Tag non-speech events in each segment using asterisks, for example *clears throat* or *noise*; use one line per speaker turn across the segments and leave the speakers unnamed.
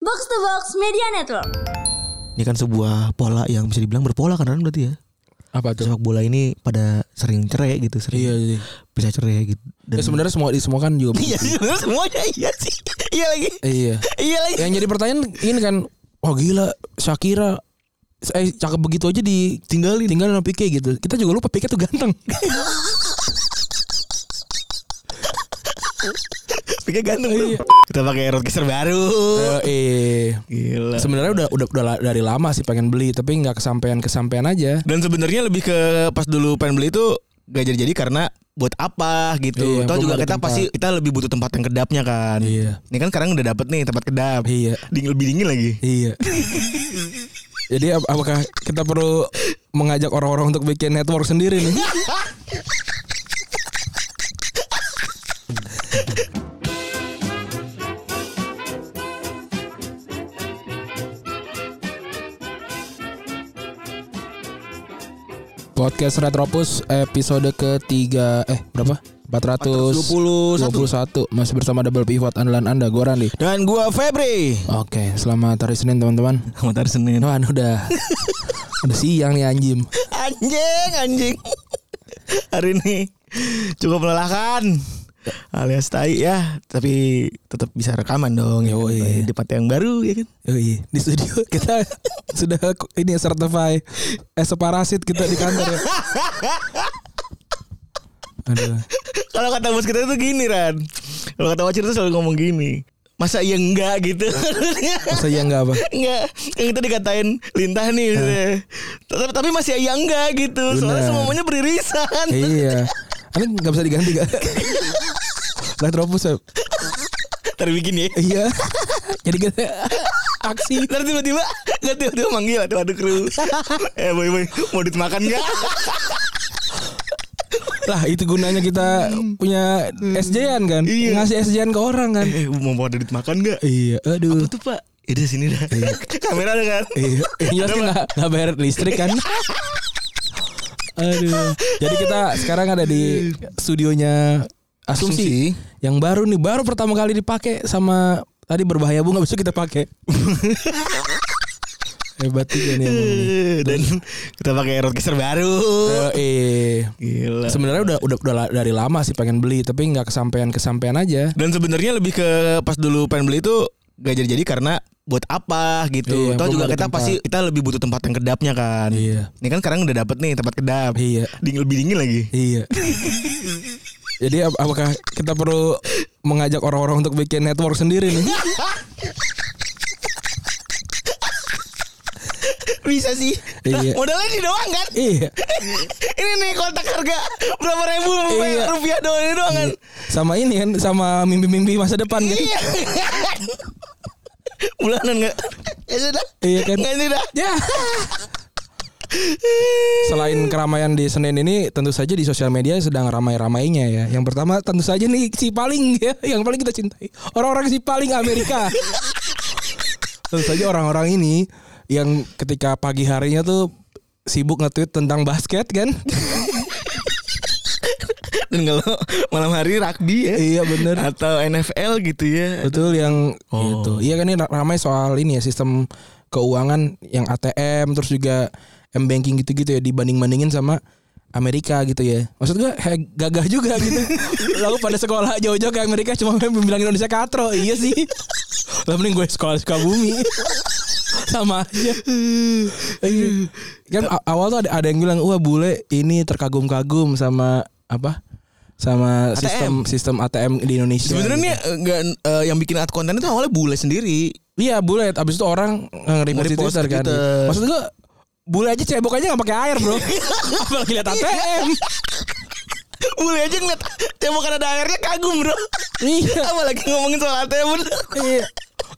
Box to Box Media Network.
Ini kan sebuah pola yang bisa dibilang berpola kan Ran, berarti ya.
Apa tuh?
Sepak bola ini pada sering cerai gitu, sering
Iya, iya.
bisa cerai gitu. Dan
Ya, sebenarnya semua di semua kan
*laughs*
juga.
iya sih, bener semuanya iya sih. Iya lagi.
*laughs* iya.
Iya lagi.
Yang jadi pertanyaan ini kan, wah gila Shakira eh cakep begitu aja ditinggalin tinggalin sama Pique gitu. Kita juga lupa Pique tuh *laughs* ganteng.
Pikir ganteng lu. Kita pakai erotis terbaru.
Eh, Oh, iya. eh
Gila.
sebenarnya udah udah udah la- dari lama sih pengen beli tapi nggak kesampaian kesampaian aja.
Dan sebenarnya lebih ke pas dulu pengen beli itu gak jadi-jadi karena buat apa gitu.
Iya,
Tahu
belum
juga
ada
kita
tempat.
pasti kita lebih butuh tempat yang kedapnya kan.
Iya.
Ini kan sekarang udah dapet nih tempat kedap.
Iya.
Dingin lebih dingin lagi.
Iya. Jadi ap- apakah kita perlu mengajak orang-orang untuk bikin network sendiri nih? Podcast Retropus episode ketiga eh berapa? 421 masih bersama double pivot andalan Anda gue Randy.
Dan gua Febri.
Oke, selamat hari Senin teman-teman.
Komentar Senin.
Wah, kan *laughs* udah udah siang nih anjim.
Anjing, anjing. Hari ini cukup melelahkan. Alias tai ya, tapi tetap bisa rekaman dong. ya kan?
Yoi.
Di tempat yang baru ya kan.
Oh iya, di studio kita sudah ini ya, certify as a parasit kita di kantor. *laughs* Ya. Aduh.
Kalau kata bos kita itu gini Ran Kalau kata Wacir itu selalu ngomong gini Masa iya enggak gitu
Masa iya enggak apa?
Enggak Yang kita dikatain lintah nih gitu. tapi, tapi masih iya enggak gitu Soalnya
Bener.
semuanya beririsan
Iya. Ini nggak bisa diganti *laughs* kan? Retropus ya.
Terbikin ya
Iya. Jadi kita ah, aksi.
Ntar tiba-tiba Nggak tiba-tiba manggil Aduh aduh kru
*laughs*
Eh boy boy Mau duit makan enggak
Lah itu gunanya kita punya SJN kan?
Iya.
Ngasih SJN ke orang kan?
Eh mau mau ada duit makan enggak
Iya, aduh.
Apa tuh pak Ya udah sini dah *laughs* Kamera ada kan
Iya, yang jelas kan nggak- nggak bayar listrik kan. Aduh. Jadi kita sekarang ada di studionya Asumsi, yang baru nih, baru pertama kali dipakai sama tadi berbahaya bunga besok kita pakai. *laughs* Hebat juga nih. emang nih.
Eh, Dan kita pakai roadcaster baru
Eh, eh,
Gila
sebenarnya udah udah udah la- dari lama sih pengen beli, tapi nggak kesampaian kesampaian aja.
Dan sebenarnya lebih ke pas dulu pengen beli itu gak jadi-jadi karena buat apa gitu.
Iya,
Tahu
belum
juga
ada
kita
tempat.
pasti kita lebih butuh tempat yang kedapnya kan.
Iya.
Ini kan sekarang udah dapet nih tempat kedap.
Iya.
Dingin lebih dingin lagi.
*laughs* Iya. Jadi ap- apakah kita perlu mengajak orang-orang untuk bikin network sendiri nih?
Bisa sih.
Iya.
Modalnya ini doang kan.
Iya.
*laughs* ini nih kontak harga berapa ribu
Iya.
rupiah doang ini doang kan.
sama ini kan sama mimpi-mimpi masa depan kan
Iya. *laughs* Bulanan enggak? Ya sudah.
Iya kan?
Enggak sudah.
ya selain keramaian di Senin ini tentu saja di sosial media sedang ramai-ramainya ya yang pertama tentu saja nih si paling ya yang paling kita cintai orang-orang si paling Amerika tentu saja orang-orang ini yang ketika pagi harinya tuh sibuk nge-tweet tentang basket kan
Dan kalau malam hari rugby ya.
iya bener
Atau NFL gitu ya.
Betul yang itu. Iya kan ini ra- ramai soal ini ya sistem keuangan yang ATM terus juga M banking gitu-gitu ya dibanding-bandingin sama Amerika gitu ya. Maksud gua he, gagah juga gitu. Lalu pada sekolah jauh-jauh ke Amerika cuma bilang Indonesia katro. Iya sih. Lah mending gue sekolah suka bumi. sama aja. Iya. Kan a- awal tuh ada, ada yang bilang wah bule ini terkagum-kagum sama apa? sama sistem sistem ATM di Indonesia.
Sebenarnya nih eh, nggak eh, yang bikin ad konten itu awalnya bule *laughs* sendiri.
Iya bulat. Abis itu orang eh, nge-repost di
Nge-repost
Twitter
di
kan.
Twitter.
Maksud gue bule aja cebok aja nggak pakai air
*laughs*
bro. Iya. Apalagi lihat
E?
ATM.
Iya, Bule aja ngeliat tembakan ada airnya kagum *laughs* bro.
*laughs* iya.
Apalagi ngomongin soal ATM bro.
iya.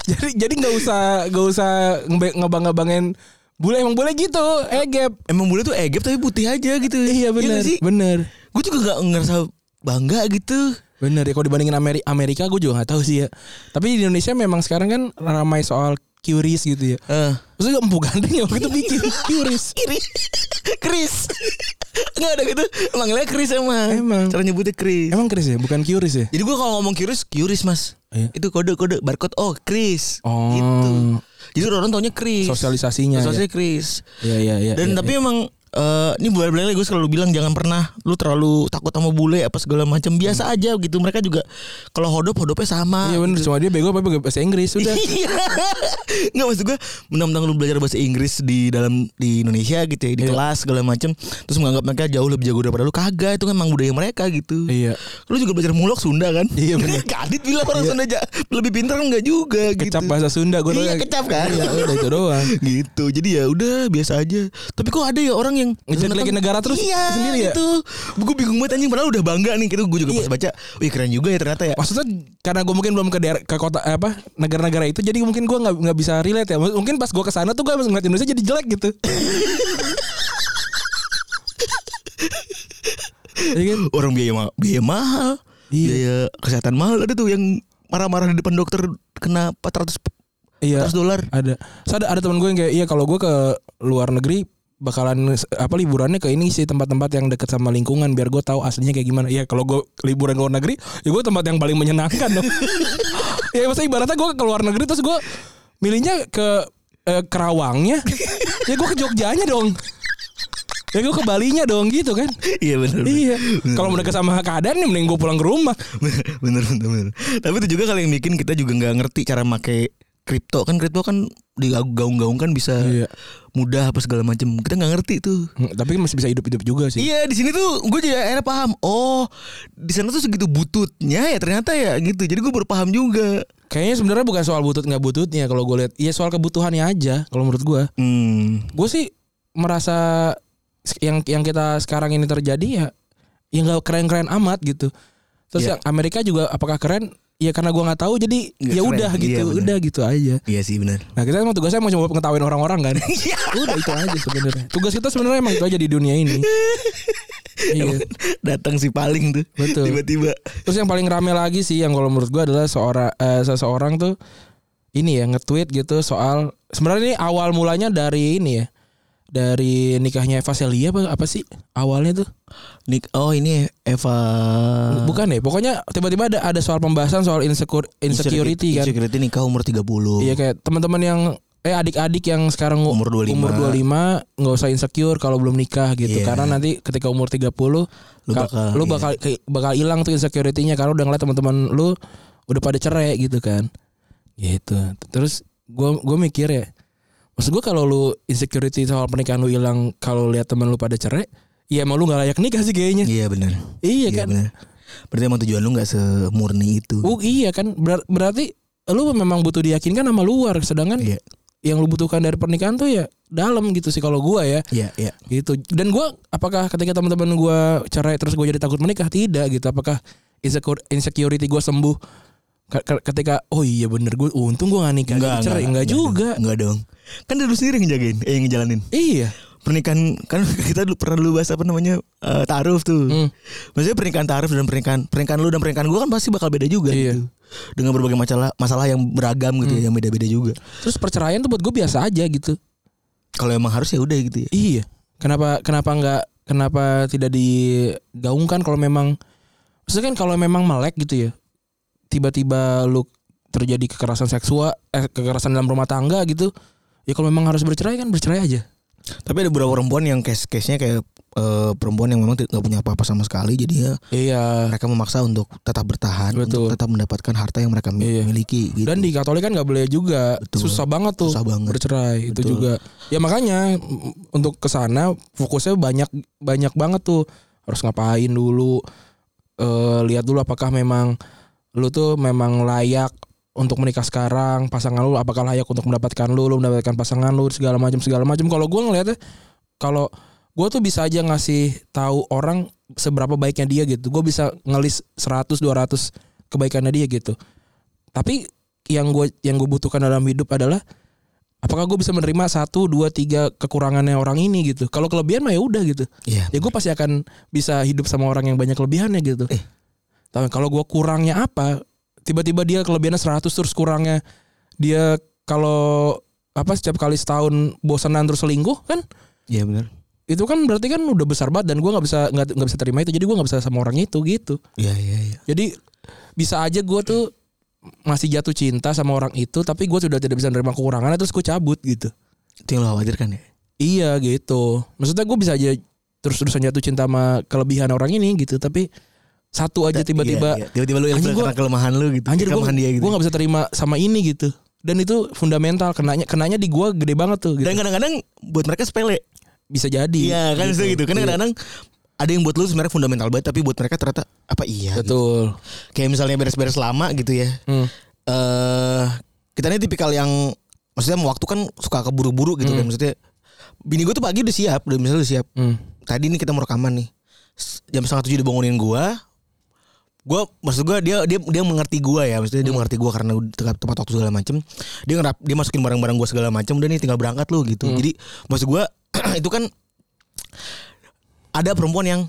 Jadi jadi nggak usah nggak usah ngebe- ngebang-ngebangin bule emang bule gitu. Egep.
Emang bule tuh egep tapi putih aja gitu.
Iya
nggak
bener
sih?
bener
Gue juga gak ngerasa bangga gitu.
bener ya kalau dibandingin Ameri- Amerika gue juga nggak tahu sih ya. Tapi di Indonesia memang sekarang kan ramai soal curious gitu ya.
Eh.
Maksudnya empu gandeng
Iya.
ya waktu itu bikin curious.
Kiri. Chris. Enggak ada gitu. Manggilnya Chris emang.
Emang.
Cara nyebutnya Chris.
Emang Chris ya bukan curious ya.
Jadi gue kalau ngomong Kiris, Kiris mas.
Iya.
Itu kode-kode barcode oh Chris
Oh.
gitu. Jadi orang taunya Chris.
Sosialisasinya, ya.
Sosialisasi Chris.
Iya iya iya.
Dan
iya,
tapi
iya.
emang eh, ini bulan bulan gue selalu bilang jangan pernah lu terlalu takut sama bule apa segala macam biasa aja gitu mereka juga kalau hodop hodopnya sama
Hmm. Iya bener cuma dia bego apa pakai bahasa Inggris sudah.
Iya. *laughs* Nggak maksud gue Menang-menang lu belajar bahasa Inggris Di dalam Di Indonesia gitu ya Di
Iya.
kelas segala macem Terus menganggap mereka jauh lebih jago daripada lu Kagak itu kan emang budaya mereka gitu
Iya.
Lu juga belajar mulok Sunda kan *laughs*
Iya, bener. Iya.
Kak Adit bilang orang Sunda ja- Lebih pintar kan enggak juga
Kecap
gitu
bahasa Sunda gue
Iya kecap kan
Iya udah itu doang.
*laughs* gitu jadi ya udah biasa aja tapi kok ada ya orang yang
Ngejelekin negara terus
iya,
sendiri ya? Iya.
itu gue bingung banget anjing padahal udah bangga nih gitu gue juga pas baca wih keren juga ya ternyata ya
Maksudnya karena gue mungkin belum ke daer- ke kota eh, apa negara-negara itu jadi mungkin gue nggak nggak bisa relate ya. Mungkin pas gue kesana tuh gue ngeliat Indonesia jadi jelek
*laughs*
gitu. Iya kan?
orang biaya ma- biaya mahal
Iya.
biaya kesehatan mahal ada tuh yang marah-marah di depan dokter kena 400
Iya.
400 dolar *laughs*
Ada. So, ada ada teman gue yang kayak iya kalau gue ke luar negeri bakalan s- apa liburannya ke ini sih tempat-tempat yang dekat sama lingkungan biar gue tahu aslinya kayak gimana. Iya kalau gue liburan ke luar negeri, ya gue tempat yang paling menyenangkan dong. ya maksudnya ibaratnya gue ke luar negeri terus gue milihnya ke eh, Kerawangnya, ya gue ke Jogjanya dong. Ya gue ke Balinya dong gitu kan.
iya benar *laughs*
Iya. Kalau udah ke sama keadaan nih mending gue pulang ke rumah.
bener bener bener bener. tapi itu juga kali yang bikin kita juga nggak ngerti cara make kripto kan kripto kan digaung-gaung kan bisa
Iya.
mudah apa segala macam kita nggak ngerti tuh
Hmm, Tapi masih bisa hidup-hidup juga sih.
Iya di sini tuh gue jadi akhirnya paham. Oh di sana tuh segitu bututnya ya ternyata ya gitu. Jadi gue baru paham juga.
Kayaknya sebenarnya bukan soal butut nggak bututnya kalau gue lihat, ya soal kebutuhannya aja kalau menurut gue.
Hmm.
Gue sih merasa s- yang yang kita sekarang ini terjadi ya yang nggak keren-keren amat gitu. Terus
Iya.
yang Amerika juga apakah keren? Ya karena gue nggak tahu jadi
Nggak
ya
keren.
udah
Iya,
gitu,
bener.
udah gitu aja.
Iya sih benar. *laughs*
Nah kita emang tugasnya emang cuma ngetawain orang-orang kan.
Iya.
udah itu aja sebenarnya. Tugas kita sebenarnya emang itu aja di dunia
*laughs*
ini. iya.
Datang si paling tuh.
Betul.
Tiba-tiba.
Terus yang paling rame lagi sih yang kalau menurut gua adalah seorang eh, seseorang tuh ini ya nge-tweet gitu soal sebenarnya ini awal mulanya dari ini ya. Dari nikahnya Eva Celia apa, apa sih awalnya tuh?
Nick. Oh ini Eva. Eh.
Bukan ya, pokoknya tiba-tiba ada ada soal pembahasan soal insecure, insecurity kan.
Insecurity nikah umur 30
Iya kayak teman-teman yang eh adik-adik yang sekarang
Umur 25.
umur 25 nggak usah insecure kalau belum nikah gitu
Iya.
karena nanti ketika umur 30
Lu
ka-
bakal-
lu
iya.
bakal ke- bakal hilang tuh insecurity-nya karena udah ngeliat teman-teman lu udah pada cerai gitu kan. Gitu. Terus gua gua mikir ya Maksud gua kalau lu insecurity soal pernikahan lu hilang kalau lihat teman lu pada cerai, ya emang lu nggak layak nikah sih kayaknya.
Iya benar.
Iya, kan?
benar. Berarti emang tujuan lu nggak semurni itu.
Oh iya kan Berar- berarti lu memang butuh diyakinkan sama luar sedangkan
Iya.
yang lu butuhkan dari pernikahan tuh ya dalam gitu sih kalau gua ya
Iya iya.
gitu dan gua apakah ketika teman-teman gua cerai terus gua jadi takut menikah tidak gitu apakah insecure- insecurity gua sembuh Ke- ke- ketika oh iya bener gue untung gua gak nikah jadi cerai enggak, juga
dong, Enggak dong. Kan dari lu sendiri yang jagain, eh yang ngejalanin.
iya
pernikahan kan kita dulu pernah dulu bahas apa namanya eh, taruf tuh.
Hmm.
Maksudnya pernikahan taruf dan pernikahan pernikahan lu dan pernikahan gua kan pasti bakal beda juga
Iya. Hmm.
gitu. Dengan berbagai masalah masalah yang beragam gitu ya, yang beda-beda juga.
terus perceraian tuh buat gue biasa aja gitu
Kalau emang harus ya udah gitu ya.
Iya. Kenapa kenapa nggak kenapa tidak digaungkan kalau memang maksudnya kan kalau memang melek gitu ya. Tiba-tiba lu terjadi kekerasan seksual, eh, kekerasan dalam rumah tangga gitu. Ya kalau memang harus bercerai kan bercerai aja.
Tapi ada beberapa perempuan yang case-case-nya kayak eh, perempuan yang memang tidak nggak punya apa-apa sama sekali jadi ya
Iya.
mereka memaksa untuk tetap bertahan,
Betul.
untuk tetap mendapatkan harta yang mereka mi-
Iya.
miliki gitu.
Dan di gitu, Katolik kan nggak boleh juga.
Betul.
Susah banget tuh
Susah banget.
bercerai itu
Betul.
juga. Ya makanya mm, untuk ke sana fokusnya banyak banyak banget tuh. Harus ngapain dulu? eh lihat dulu apakah memang lu tuh memang layak untuk menikah sekarang, pasangan lu apakah layak untuk mendapatkan lu, lu mendapatkan pasangan lu segala macam segala macam. Kalau gua ngelihatnya kalau gua tuh bisa aja ngasih tahu orang seberapa baiknya dia gitu. Gua bisa ngelis 100 200 kebaikannya dia gitu. Tapi yang gue yang gue butuhkan dalam hidup adalah apakah gue bisa menerima satu dua tiga kekurangannya orang ini gitu kalau kelebihan mah ya udah gitu
Iya.
ya gue pasti akan bisa hidup sama orang yang banyak kelebihannya gitu
Eh.
tapi kalau gue kurangnya apa tiba-tiba dia kelebihannya 100 terus kurangnya dia kalau apa setiap kali setahun bosanan terus selingkuh kan
Iya benar.
itu kan berarti kan udah besar banget dan gue nggak bisa nggak nggak bisa terima itu jadi gue nggak bisa sama orang itu gitu
Iya iya iya.
jadi bisa aja gue tuh masih jatuh cinta sama orang itu tapi gue sudah tidak bisa menerima kekurangannya terus gue cabut gitu
Itu yang lo khawatirkan ya.
iya gitu maksudnya gue bisa aja terus terusan jatuh cinta sama kelebihan orang ini gitu tapi satu aja
Iya,
tiba-tiba
iya. tiba-tiba lu ilfil
Anjing, gua-
karena kelemahan lu gitu.
anjir gue
kelemahan dia gitu.
gue nggak bisa terima sama ini gitu dan itu fundamental kenanya kenanya di gue gede banget tuh gitu.
Dan kadang-kadang buat mereka sepele.
bisa jadi
Iya kan itu gitu. Karena
Iya.
kadang-kadang ada yang buat lu sebenarnya fundamental banget tapi buat mereka ternyata apa iya gitu.
betul
Kayak misalnya beres-beres lama gitu ya.
Hmm.
Eh kita ini tipikal yang maksudnya waktu kan suka keburu-buru gitu kan maksudnya. Bini gue tuh pagi udah siap, udah misalnya udah siap.
Hmm.
Tadi ini kita mau rekaman nih. S- Jam setengah tujuh dibangunin gua. Gua maksud gua dia dia dia mengerti gua ya, maksudnya dia mengerti gua karena udah tepat, tepat waktu segala macem Dia ngerap dia masukin barang-barang gua segala macem udah nih tinggal berangkat lu gitu. Jadi maksud gua *clears throat* itu kan ada perempuan yang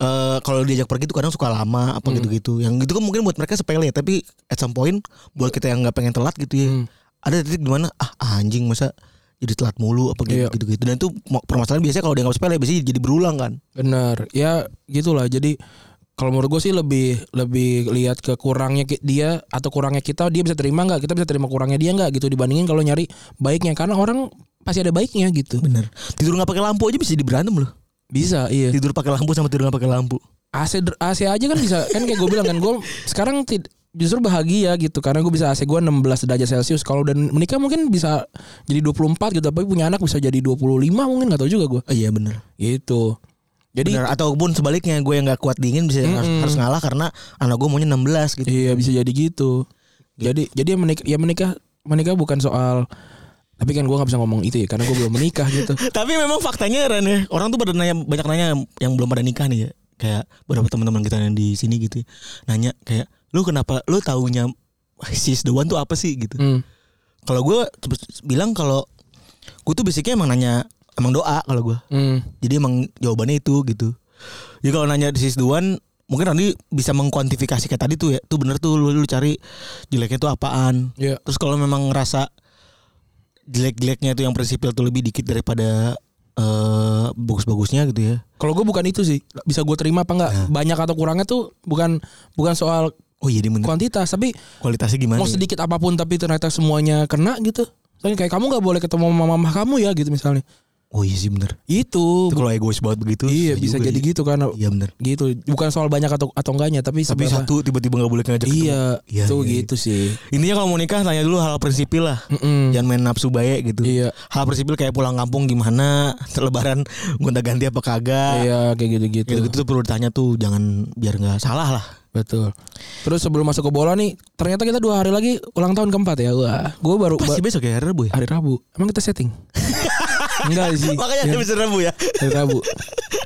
eh kalau diajak pergi tuh kadang suka lama apa gitu-gitu. Yang gitu kan mungkin buat mereka sepele tapi at some point buat kita yang nggak pengen telat gitu
Hmm.
ya. Ada titik dimana ah anjing masa jadi telat mulu apa gitu
Iya.
gitu gitu. Dan itu mo- permasalahan biasanya kalau dianggap sepele biasanya jadi berulang kan.
Bener, ya gitulah. Jadi kalau menurut gue sih lebih lebih lihat ke kurangnya ki- dia atau kurangnya kita dia bisa terima nggak kita bisa terima kurangnya dia nggak gitu dibandingin kalau nyari baiknya karena orang pasti ada baiknya gitu
Bener. Tidur nggak pakai lampu aja bisa jadi berantem loh.
bisa iya
Tidur pakai lampu sama tidur nggak pakai lampu.
AC der- AC aja kan bisa kan kayak gue bilang kan gue sekarang tid- justru bahagia gitu karena gue bisa AC gue 16 derajat celcius kalau dan menikah mungkin bisa jadi 24 gitu tapi punya anak bisa jadi 25 mungkin nggak tahu juga gue
iya bener.
gitu jadi
Bener. Ataupun sebaliknya gue yang nggak kuat dingin bisa harus, harus ngalah karena anak gue maunya 16 gitu.
Iya bisa jadi gitu. Jadi jadi menikah ya menikah menikah bukan soal tapi kan gue nggak bisa ngomong itu ya karena gue belum menikah gitu.
*laughs* Tapi memang faktanya Ren ya, orang tuh pada nanya banyak nanya yang belum pada nikah nih ya. Kayak beberapa teman-teman kita yang di sini gitu ya, nanya kayak lu kenapa lu taunya *laughs* sis the one tuh apa sih gitu.
*laughs* Hmm.
Kalau gue bilang kalau gue tuh basicnya emang nanya emang doa kalau gue.
Hmm.
Jadi emang jawabannya itu gitu. Jadi kalau nanya sis the one mungkin nanti bisa mengkuantifikasi kayak tadi tuh ya. Tuh bener tuh lu, lu cari jeleknya tuh apaan.
Iya.
Terus kalau memang ngerasa jelek-jeleknya itu yang prinsipil tuh lebih dikit daripada eh bagus-bagusnya gitu ya.
Kalau gue bukan itu sih bisa gue terima apa nggak banyak atau kurangnya tuh bukan bukan soal
Oh iya dia bener.
kuantitas tapi
Kualitasnya gimana?
mau
ya?
sedikit apapun tapi ternyata semuanya kena gitu. Soalnya kayak kamu nggak boleh ketemu sama mama kamu ya gitu misalnya.
Oh iya sih bener.
Itu,
Itu kalau egois banget begitu.
iya
susah
bisa
juga
jadi
sih.
gitu karena
Iya bener.
gitu bukan soal banyak atau atau enggaknya tapi
Tapi
seberapa-
satu tiba-tiba nggak boleh ngajak ketemu.
iya,
Iya,
tuh
iya, iya.
gitu sih.
Intinya kalau mau nikah tanya dulu hal prinsipil lah.
Mm-mm.
Jangan main nafsu baik gitu.
Iya.
Hal prinsipil kayak pulang kampung gimana, *laughs* lebaran gonta ganti apa kagak.
Iya kayak gitu-gitu.
Gitu-gitu tuh perlu ditanya tuh jangan biar nggak salah lah.
Betul. Terus sebelum masuk ke bola nih, ternyata kita dua hari lagi ulang tahun keempat ya. Wah, gue baru
Pasti
ba-
besok ya hari Rabu ya?
hari Rabu. Emang kita
*laughs*
setting? Enggak sih.
Makanya
Ya,
ada episode Rabu ya. *laughs*
hari Rabu.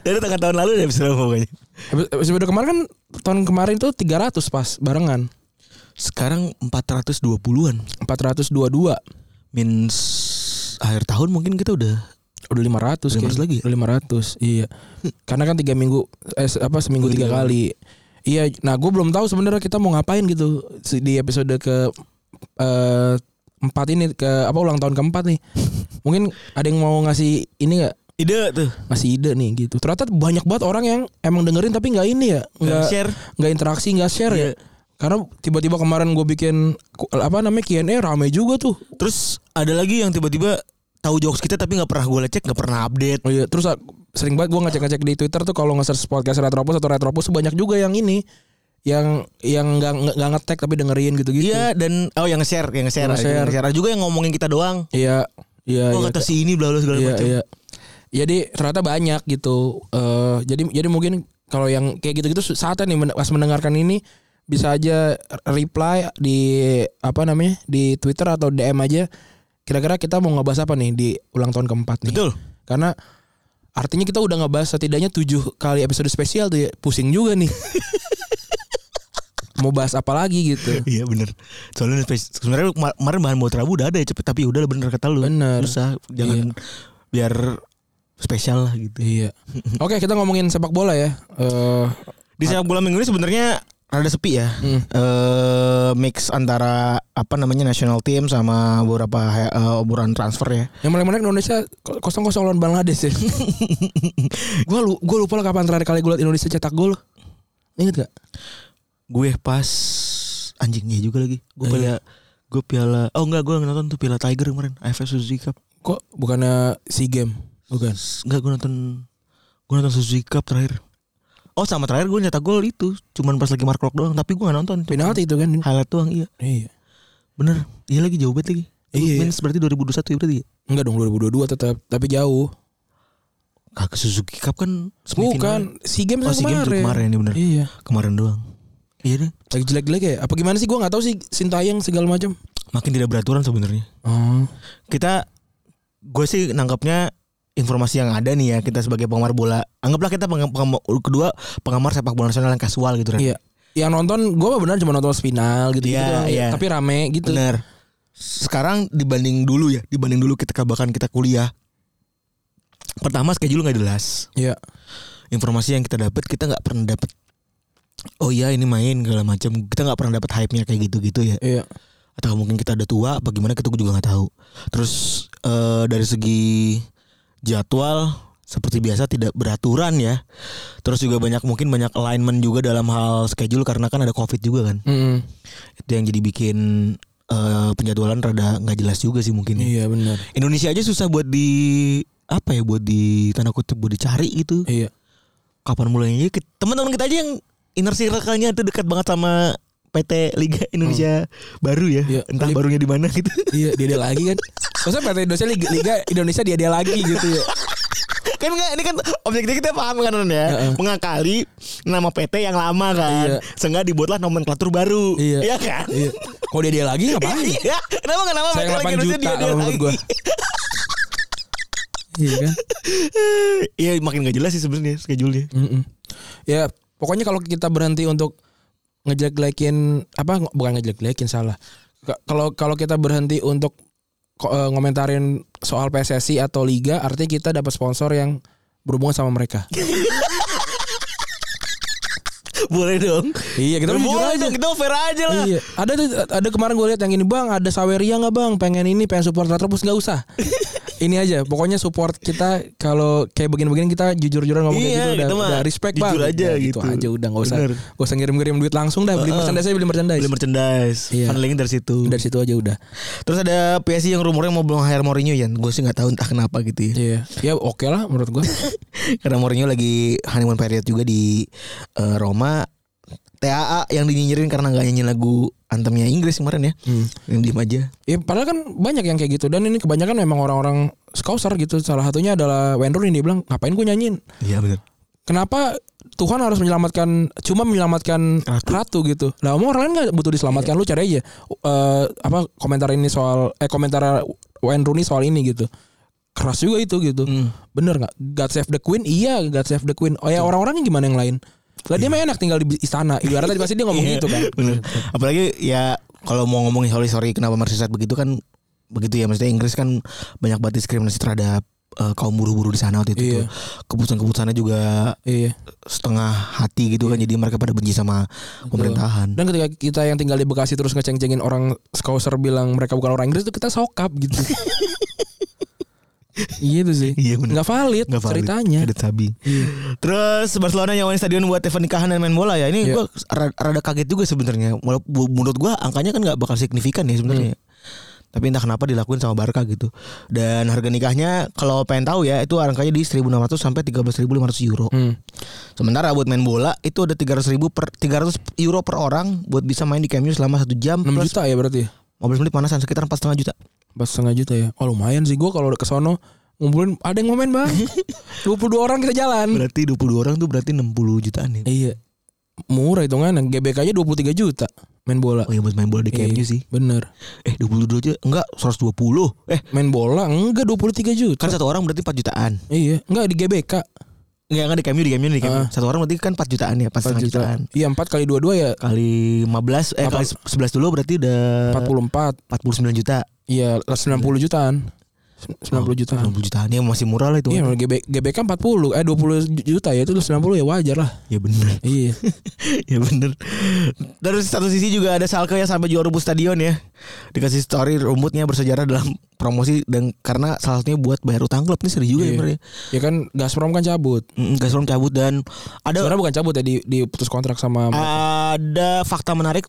Dari tengah tahun lalu ada episode Rabu makanya.
Habis- habis Episode kemarin kan tahun kemarin tuh 300 pas barengan.
Sekarang 420-an.
422
Means akhir tahun mungkin kita udah
udah 500
500 lagi ya?
Udah 500.
*laughs*
Iya. Karena kan 3 minggu eh se- apa seminggu tiga kali. Iya, nah gue belum tahu sebenarnya kita mau ngapain gitu Si- di episode ke eh, empat ini ke apa ulang tahun keempat
*laughs*
nih. Mungkin ada yang mau ngasih ini nggak
ide tuh.
masih ide nih gitu. Ternyata banyak banget orang yang emang dengerin tapi nggak ini ya, nggak
Kan share.
nggak interaksi, nggak share
Iya.
ya. Karena tiba-tiba kemarin gue bikin ku- apa namanya Q&A rame juga tuh.
Terus ada lagi yang tiba-tiba tahu jokes kita tapi nggak pernah gue lecek, nggak pernah update.
Oh iya, terus ah, sering banget gue ngecek-ngecek di Twitter tuh kalau nge-search podcast Retropus atau Retropus banyak juga yang ini yang yang nggak nggak- nggak ngetek tapi dengerin gitu-gitu.
Iya dan oh yang nge-share, yang nge-share,
Gitu. Yang nge-share.
Yang nge-share. Ada juga yang ngomongin kita doang.
Iya, iya.
Oh
iya.
kata si ini bla bla segala
Iya,
macam.
iya. Jadi ternyata banyak gitu. Eh jadi jadi mungkin kalau yang kayak gitu-gitu su- saatnya nih men- pas mendengarkan ini bisa aja reply di apa namanya di Twitter atau DM aja. Kira-kira kita mau ngebahas apa nih di ulang tahun keempat nih?
Betul.
Karena artinya kita udah ngebahas setidaknya tujuh kali episode spesial tuh ya. Pusing juga nih. mau bahas apa lagi gitu.
Iya bener Soalnya spes- sebenarnya kemar- kemarin bahan buat Rabu udah ada ya cepet Tapi udah lah, bener kata lu
Bener.
Usah jangan biar spesial lah gitu
Iya. Oke, kita ngomongin sepak bola ya. Eh
Di sepak bola minggu ini sebenarnya rada sepi ya
Hmm.
Eh, Mix antara apa namanya national team sama beberapa eh, obrolan transfer ya
Yang paling menarik Indonesia kosong kosong lawan Bangladesh ya. gua lu, gua lupa lah kapan terakhir kali gue liat Indonesia cetak gol. Ingat gak?
Gue pas anjing iya juga lagi
Ah,
gue piala gue piala oh enggak gue nonton tuh piala Tiger kemarin AFF Suzuki Cup
Kok bukannya SEA Game? Bukan.
S- enggak gue nonton gue nonton Suzuki Cup terakhir oh sama terakhir gue nyetak gol itu cuman pas lagi Mark Klok doang tapi gue gak nonton
Penalti itu kan.
highlight doang iya
Iya.
bener iya lagi jauh banget lagi
Iya, iya.
Mens berarti 2021 ya berarti ya?
Enggak dong 2022 tetap, tapi jauh.
Kagak Suzuki Cup kan semifinal.
Bukan SEA Games
Oh,
yang
SEA Games yang kemarin, iya bener.
Iya.
kemarin doang. Iya deh.
Lagi jelek-jelek ya? Apa gimana sih? Gue nggak tahu sih Sintayang segala macam.
Makin tidak beraturan sebenarnya.
Oh.
Kita gue sih nangkapnya informasi yang ada nih ya kita sebagai penggemar bola. Anggaplah kita penggemar, kedua penggemar sepak bola nasional yang casual gitu kan.
Iya. Yang nonton gue mah benar cuma nonton final gitu gitu.
Iya, iya.
Tapi rame gitu.
Bener. Sekarang dibanding dulu ya, dibanding dulu kita bahkan kita kuliah. Pertama schedule nggak jelas.
Iya.
Informasi yang kita dapat kita nggak pernah dapat. Oh iya ini main segala macam. Kita nggak pernah dapat hype-nya kayak gitu-gitu ya.
Iya.
atau mungkin kita udah tua apa gimana kita juga nggak tahu terus eh, dari segi jadwal seperti biasa tidak beraturan ya terus juga banyak mungkin banyak alignment juga dalam hal schedule karena kan ada covid juga kan
Mm-mm.
itu yang jadi bikin eh, penjadwalan rada nggak jelas juga sih mungkin ya.
Iya benar.
Indonesia aja susah buat di apa ya buat di tanda kutip buat dicari gitu
Iya.
kapan mulainya Ki- teman-teman kita aja yang inner circle-nya itu dekat banget sama PT Liga Indonesia baru ya
Iya.
entah
Lip-
barunya di mana gitu *laughs*
iya dia dia lagi kan. Maksudnya PT Indonesia Liga, Liga Indonesia dia dia lagi gitu ya.
kan enggak ini kan objektif kita paham kan Ron, ya
Heeh.
mengakali nama PT yang lama kan
Iya.
sehingga dibuatlah nomenklatur baru
Iya.
kan
Iya. Kalau dia dia lagi ngapain?
*laughs* Iya, kenapa nggak nama
Sayang
Indonesia
8 juta
dia- dia
kalau menurut
lagi? *laughs*
gua. Iya kan.
Iya makin nggak jelas sih sebenarnya schedule-nya.
Mm-mm. Ya pokoknya kalau kita berhenti untuk ngejelek-jelekin apa nge- bukan ngejelek-jelekin salah. Ka- Kalau kalau kita berhenti untuk ko- eh, ngomentarin soal PSSI atau liga artinya kita dapat sponsor yang berhubungan sama mereka.
Boleh dong.
iya, kita jujur
boleh
aja.
dong kita fair aja lah.
Iya, ada tuh- ada kemarin gue lihat yang ini bang, ada Saweria nggak bang? Pengen ini, pengen support terus nggak
*laughs*
usah. ini aja, pokoknya support kita kalau kayak begini-begini kita jujur-jujuran ngomong
Iya,
kayak gitu udah,
kita mah
udah respect bang.
jujur aja
Udah,
gitu.
aja udah nggak usah,
Bener.
nggak usah ngirim-ngirim duit langsung dah. Beli
Heeh.
merchandise, aja, beli merchandise.
Beli merchandise,
Iya.
funnelingnya dari situ.
Dari situ aja udah.
Terus ada PSG yang rumornya mau belum hire Mourinho ya. Gue sih nggak tahu entah kenapa gitu ya.
Iya, ya oke lah menurut gue.
*laughs* Karena Mourinho lagi honeymoon period juga di eh, Roma. TAA yang dinyinyirin karena nggak nyanyi lagu antemnya Inggris kemarin ya.
Hmm.
Yang diem aja.
Ya padahal kan banyak yang kayak gitu dan ini kebanyakan memang orang-orang scouser gitu. Salah satunya adalah vendor ini bilang ngapain gue nyanyiin?
Iya benar.
kenapa Tuhan harus menyelamatkan cuma menyelamatkan
Ratu.
ratu, gitu. Lah emang orang lain nggak butuh diselamatkan lu cari aja eh, apa komentar ini soal eh komentar Wayne Rooney soal ini gitu. Keras juga itu gitu. Bener nggak? God save the queen? Iya, God save the queen. Oh ya orang-orangnya gimana yang lain? Lah dia mah enak tinggal di istana. Ibaratnya pasti dia ngomong gitu kan.
Bener. Apalagi ya kalau mau ngomongin sorry sorry kenapa Merseyside begitu kan begitu ya maksudnya Inggris kan banyak banget diskriminasi terhadap eh, kaum buruh-buruh di sana waktu itu. tuh.
Iya.
Keputusan-keputusannya juga
Iya.
setengah hati gitu kan jadi mereka pada benci sama pemerintahan.
Dan ketika kita yang tinggal di Bekasi terus ngeceng-cengin orang scouser bilang mereka bukan orang Inggris itu kita sokap gitu. gitu sih.
Iya, bener.
Nggak valid,
Nggak valid.
ceritanya. Iya.
Ada tabi. Terus Barcelona nyawain stadion buat event nikahan dan main bola ya. Ini
Iya.
gua ra- rada kaget juga sebenarnya. Walaupun- Menurut gua angkanya kan nggak bakal signifikan ya sebenarnya.
Hmm.
Tapi entah kenapa dilakuin sama Barca gitu. Dan harga nikahnya kalau pengen tahu ya itu angkanya di 1.600 sampai 13.500 euro.
Hmm.
Sementara buat main bola itu ada 300 ribu per 300 euro per orang buat bisa main di Camp Nou selama 1 jam
6
plus
juta ya berarti ya?
15 menit panasan sekitar 4,5 juta.
Empat setengah juta ya. Oh lumayan sih gue kalau udah ke sono ngumpulin ada yang momen *laughs* bang. 22 orang kita jalan.
Berarti 22 orang tuh berarti 60 jutaan ya.
Iya. Murah hitungannya GBK aja 23 juta main bola.
Oh ya buat main bola di Camp Nou
Iya,
sih.
Bener.
Eh 22 aja enggak 120. Eh
Main bola enggak 23 juta.
kan satu orang berarti 4 jutaan.
Iya, enggak di GBK
Enggak enggak di cameo di cameo di cameo.
Ah.
Satu orang berarti kan 4 jutaan ya, 4
4
jutaan. jutaan.
Iya, 4 kali 22 ya
Kali 15 eh
Apa?
kali 11 dulu berarti udah
44.
49 juta.
Iya, Oh, lah 90 jutaan. Sem- 90 jutaan.
90 jutaan ya masih murah lah itu.
Ah. Iya, GB, GBK 40, eh 20 juta ya itu lu 90 ya wajar lah.
Ya bener *laughs*
Iya.
Ya bener Terus satu sisi juga ada Salke yang sampai juara rumput stadion ya Dikasih story rumputnya bersejarah dalam promosi Dan karena salah satunya buat bayar utang klub Ini serius juga
*laughs* Iya.
ya sebenarnya
ya kan Gazprom kan cabut.
Mm, Gazprom cabut dan Ada Ah.
Sebenarnya bukan cabut ya di diputus kontrak sama
ada fakta menarik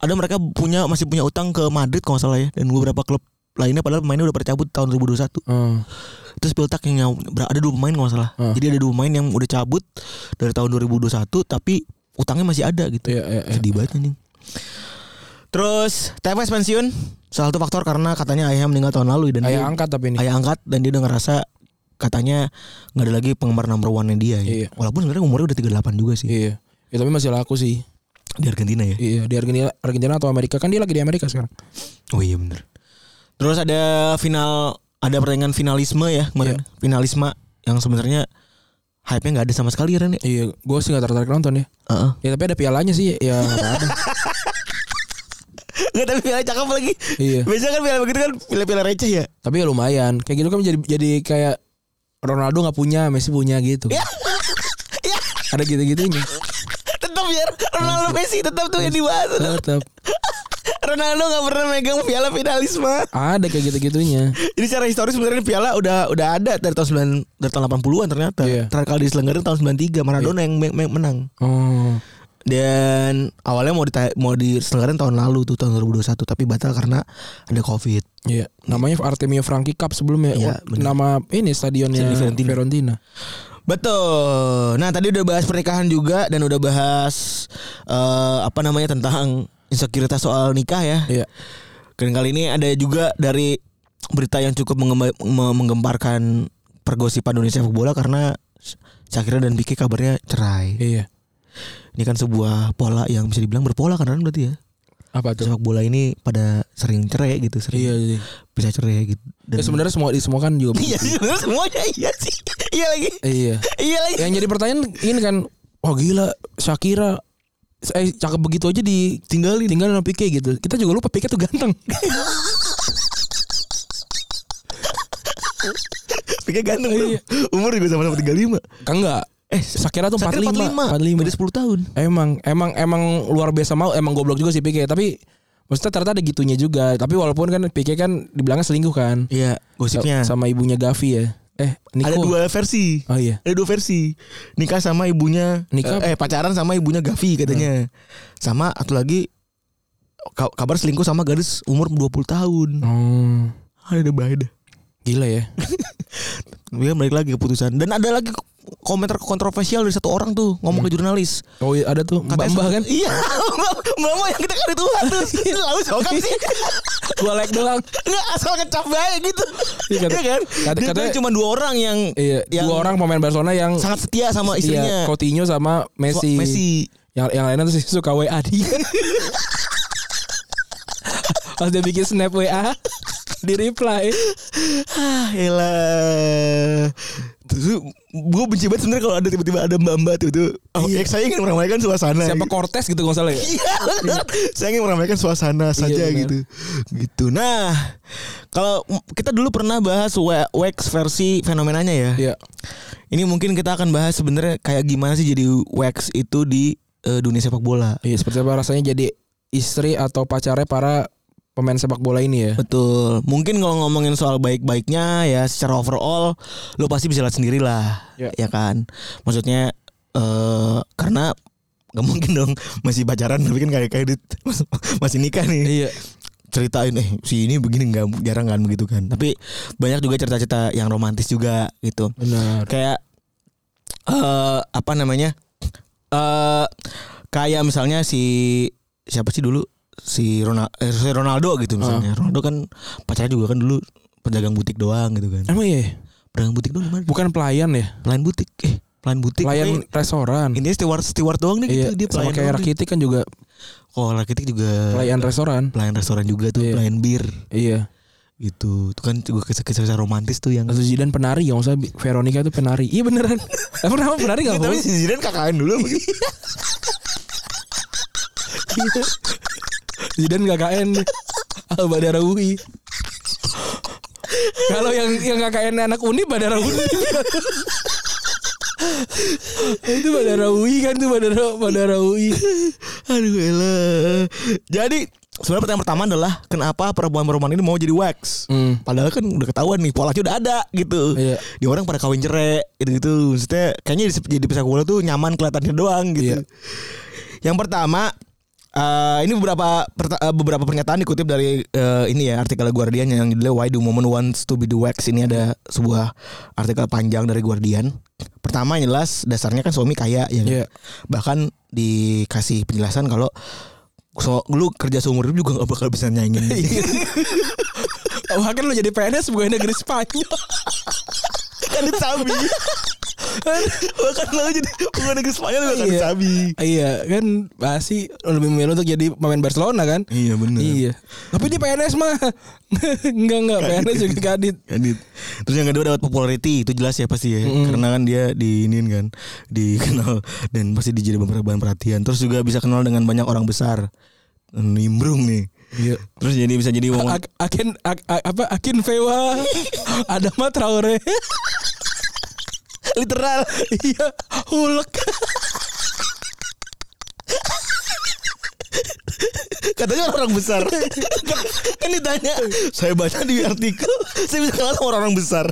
ada mereka punya masih punya utang ke Madrid kalau nggak salah ya dan beberapa klub lainnya padahal pemainnya udah percabut tahun 2021
Hmm.
terus Piltak yang nyaw- ber- ada dua pemain kalau nggak salah
Hmm.
jadi ada dua pemain yang udah cabut dari tahun 2021 tapi utangnya masih ada gitu
Iya, iya, iya.
sedih banget anjing terus TFS pensiun salah satu faktor karena katanya ayahnya meninggal tahun lalu dan
Ayah
dia-
angkat tapi ini.
Iya. ayah angkat dan dia udah ngerasa katanya nggak ada lagi penggemar number one nya dia ya.
Iya.
walaupun sebenarnya umurnya udah 38 juga sih
Iya. Ya, tapi masih laku sih.
di Argentina ya
Iya, di Argentina, Argentina atau Amerika kan dia lagi di Amerika sekarang.
Oh iya bener Terus ada final Ada pertandingan finalisme ya kemarin
Iya.
Finalisme yang sebenarnya Hype-nya gak ada sama sekali Ren ya
Iya, gue sih gak tertarik nonton ya.
Heeh.
Ya tapi ada pialanya sih, ya
*laughs*
nggak apa-apa.
Gak tapi piala cakep lagi
Iya.
Biasanya kan piala begitu kan Piala-piala receh ya
Tapi ya lumayan. Kayak gitu kan jadi jadi kayak Ronaldo nggak punya, Messi punya gitu.
Ya.
ada gitu-gitunya.
Tetap biar ya, Ronaldo
Iya.
Messi tetap tuh yang dibahas
Tetap
Ronaldo gak pernah megang piala finalisme
ada kayak gitu-gitunya.
Ini secara historis sebenarnya piala udah udah ada dari tahun 9, dari tahun 80-an ternyata.
Iya.
Terakhir kali diselenggarakan tahun 93 Maradona yang me- me- menang.
Oh.
Dan awalnya mau dita- mau diselenggarakan tahun lalu tuh tahun 2021 tapi batal karena ada Covid.
Iya, namanya Artemio Franchi Cup sebelumnya. Oh,
Iya, bener.
Nama ini stadionnya
Stadion Fiorentina.
Fiorentina.
Betul. Nah, tadi udah bahas pernikahan juga dan udah bahas eh, apa namanya tentang insekuritas soal nikah ya.
Iya.
Dan kali ini ada juga dari berita yang cukup mengemba- me- menggemparkan pergosipan Indonesia sepak bola karena Shakira dan Pique kabarnya cerai.
Iya.
Ini kan sebuah pola yang bisa dibilang berpola kan Ran, berarti ya.
Apa tuh?
Sepak bola ini pada sering cerai gitu, sering
Iya, iya.
bisa cerai gitu. Dan
Ya, sebenarnya semua di semua kan juga.
Iya,
begitu.
sebenarnya *laughs* semuanya iya sih. Iya lagi.
iya.
Iya lagi.
Yang jadi pertanyaan ini kan, wah gila Shakira eh cakep begitu aja ditinggalin tinggalin sama Pique gitu. Kita juga lupa Pique tuh *laughs* ganteng.
Pikir ganteng bro. Umur juga sama-sama 35
Kan enggak.
Eh
Shakira tuh 45.
45 Beda 10 tahun
Emang emang emang luar biasa mau emang goblok juga sih Pique, tapi maksudnya ternyata ada gitunya juga. Tapi walaupun kan Pique kan dibilangnya selingkuh kan.
Iya gosipnya
Sama ibunya Gavi ya. Eh, Nico.
Ada dua versi
Oh iya.
Ada dua versi Nikah sama ibunya
Nikah-
eh, eh, pacaran sama ibunya Gavi katanya Sama atau lagi ka- Kabar selingkuh sama gadis umur 20 tahun
Oh,
Ada bahaya dah.
gila *laughs* ya.
Dia balik lagi keputusan Dan ada lagi k- komentar kontroversial dari satu orang tuh Ngomong ke jurnalis
Oh iya, ada tuh Mbak
Katanya
Mbak
se-
*laughs* kan.
Iya *laughs* Mbak Mbak yang kita kan itu tuh Lalu sokap sih *laughs*
Gua like doang.
Nggak asal ngecap baik gitu. Iya
Iya, kata-
kan?
kata-
Dia
katanya-
kan cuma dua orang yang
Iya,
yang
dua orang pemain Barcelona yang
sangat setia sama
iya,
istrinya.
Coutinho sama Messi.
Messi.
Yang yang lainnya tuh si suka WA
*laughs*
dia. Pas dia bikin snap WA di reply.
Ah, elah. Terus gue benci banget sebenarnya kalau ada tiba-tiba ada mbak-mbak tuh tuh. Oh, iya. saya ingin meramaikan suasana.
Siapa Cortez gitu kalau nggak salah ya?
Iya, benar. saya ingin meramaikan suasana saja
Iya, benar.
gitu. Gitu. Nah, kalau kita dulu pernah bahas wa- wax versi fenomenanya ya.
Iya.
Ini mungkin kita akan bahas sebenarnya kayak gimana sih jadi wax itu di eh, dunia sepak bola.
Iya, seperti apa rasanya jadi istri atau pacarnya para pemain sepak bola ini ya?
Betul. Mungkin kalau ngomongin soal baik-baiknya ya secara overall lu pasti bisa lihat sendiri lah.
Ya.
Ya kan. Maksudnya eh karena nggak mungkin dong masih pacaran tapi kan kayak kayak dit- masih nikah nih
Iya.
ceritain eh si ini begini nggak jarang kan begitu kan tapi banyak juga cerita-cerita yang romantis juga gitu
Benar.
kayak eh apa namanya eh kayak misalnya si siapa sih dulu si Ronaldo, si Ronaldo gitu misalnya
Ah.
Ronaldo kan pacarnya juga kan dulu pedagang butik doang gitu kan
Emang iya,
pedagang butik doang gimana
bukan pelayan ya?
pelayan butik eh pelayan butik
Pelayan
Eh,
restoran.
ini steward steward doang nih
Iya,
gitu dia
sama
pelayan
kayak
doang dia.
Rakitic kan juga
oh rakitik juga
pelayan restoran.
pelayan restoran juga tuh
Iya.
pelayan bir
Iya.
gitu itu kan juga kisah-kisah romantis tuh yang
Atau Zidane penari yang usah Veronica itu penari. Iya
*laughs*
beneran. Apa nama penari
Iya,
enggak
tapi
boleh?
si Zidane kakain dulu
Iya. *laughs* Zidane KKN Al Badara UI. Kalau yang yang KKN anak Uni Badara Uni. *laughs* itu Badara UI kan tuh Badara Badara UI.
*laughs* Aduh elah. Jadi sebenarnya pertanyaan pertama adalah kenapa perempuan-perempuan ini mau jadi wax?
Hmm.
Padahal kan udah ketahuan nih polanya udah ada gitu.
Iya.
Di orang pada kawin cerai gitu-gitu. Maksudnya kayaknya di- jadi pisah bola tuh nyaman kelihatannya doang gitu.
Iya.
Yang pertama Eh, ini beberapa perta- eh, beberapa pernyataan dikutip dari eh, ini ya artikel Guardian yang judulnya Why Do Women Wants to Be the Wax. Ini ada sebuah artikel panjang dari Guardian. Pertama yang jelas dasarnya kan suami kaya ya. kan?
Iya.
Bahkan dikasih penjelasan kalau so lu kerja seumur hidup juga gak bakal bisa nyaingin.
*laughs* Iya, Wah kan lu jadi PNS bukan negeri Spanyol.
kan disabi. *laughs* Kan? Bahkan lu jadi bukan negeri Spanyol kan bahkan
Iya.
disabi.
iya kan pasti lebih memilih untuk jadi pemain Barcelona kan.
Iya benar.
Iya. Tapi di PNS mah *laughs* enggak enggak PNS juga kadit.
Edit. Terus yang kedua dapat popularity itu jelas ya pasti ya. Karena kan dia diinin kan, *laughs* dikenal dan pasti dijadi beberapa bahan perhatian. Terus juga bisa kenal dengan banyak orang besar. Nimbrung nih.
Iya.
Terus jadi bisa jadi wong
Ak- Akin ak- ak- apa Akin *laughs* Fewa ada mah Traore
literal.
iya hulek
Katanya orang besar. *laughs* kan ditanya, saya baca di artikel, saya bisa kenal sama orang-orang besar.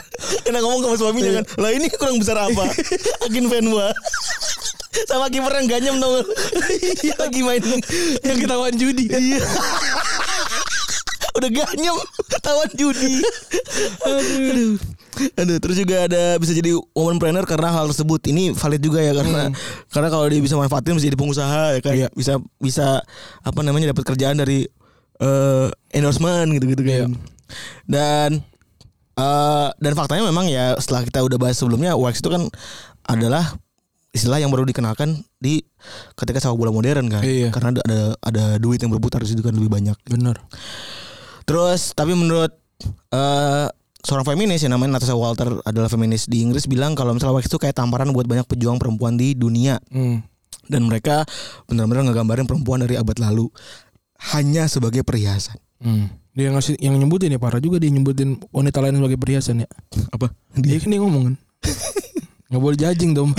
Karena ngomong sama suaminya kan, lah ini kurang besar *laughs* apa? Akin Venwa. sama kiper yang ganyem dong. Lagi main
yang ketahuan judi
Iya. Udah ganyem tawan judi. Aduh. Aduh, terus juga ada bisa jadi woman planner karena hal tersebut. Ini valid juga ya karena karena kalau dia bisa manfaatin bisa jadi pengusaha ya kan.
Hmm. Iya.
Bisa bisa apa namanya dapat kerjaan dari eh, endorsement gitu-gitu kan.
Iya.
Dan eh, dan faktanya memang ya setelah kita udah bahas sebelumnya wax itu kan adalah istilah yang baru dikenalkan di ketika sepak bola modern kan
Iya.
karena ada, ada ada duit yang berputar di situ kan lebih banyak.
bener
Terus tapi menurut eh, seorang feminis yang namanya Natasha Walter adalah feminis di Inggris bilang kalau misalnya wax itu kayak tamparan buat banyak pejuang perempuan di dunia
hmm.
dan mereka benar-benar ngegambarin perempuan dari abad lalu hanya sebagai perhiasan.
Hmm. dia ngasih yang nyebutin ya parah juga dia nyebutin wanita lain sebagai perhiasan ya
Apa?
dia kan dia ngomong *laughs* kan nggak boleh jajing dong
*laughs*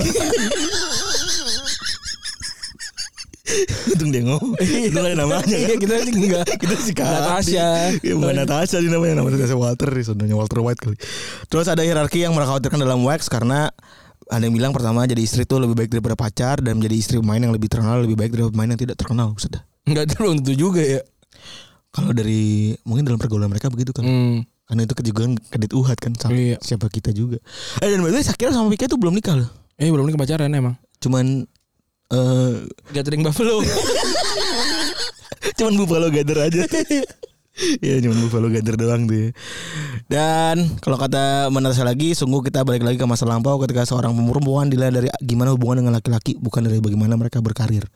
Untung dia ngomong. Itu kan namanya.
*laughs* *laughs* iya kita sih enggak
Kita sih
Natasha. Iya.
Ya, bukan Natasha sih namanya namanya Natasha Walter sih sebenarnya Walter White kali. Terus ada hierarki yang mereka khawatirkan dalam wax karena ada yang bilang pertama jadi istri itu lebih baik daripada pacar dan menjadi istri pemain yang lebih terkenal lebih baik daripada pemain yang tidak terkenal sudah.
enggak belum tentu juga ya
Kalau dari mungkin dalam pergaulan mereka begitu kan.
hmm.
Karena itu juga kredit uhat kan sama
Iya.
siapa kita juga. Eh dan by the way, Shakira sama Piqué itu belum nikah loh.
eh belum nih pacaran emang
Cuman eh *laughs*
gathering buffalo
cuman Buffalo Gather
*laughs*
aja. Iya cuman Buffalo Gather doang tuh. ya. Dan kalau kata menarik lagi, sungguh kita balik lagi ke masa lampau ketika seorang perempuan dilihat dari gimana hubungan dengan laki-laki, bukan dari bagaimana mereka berkarir.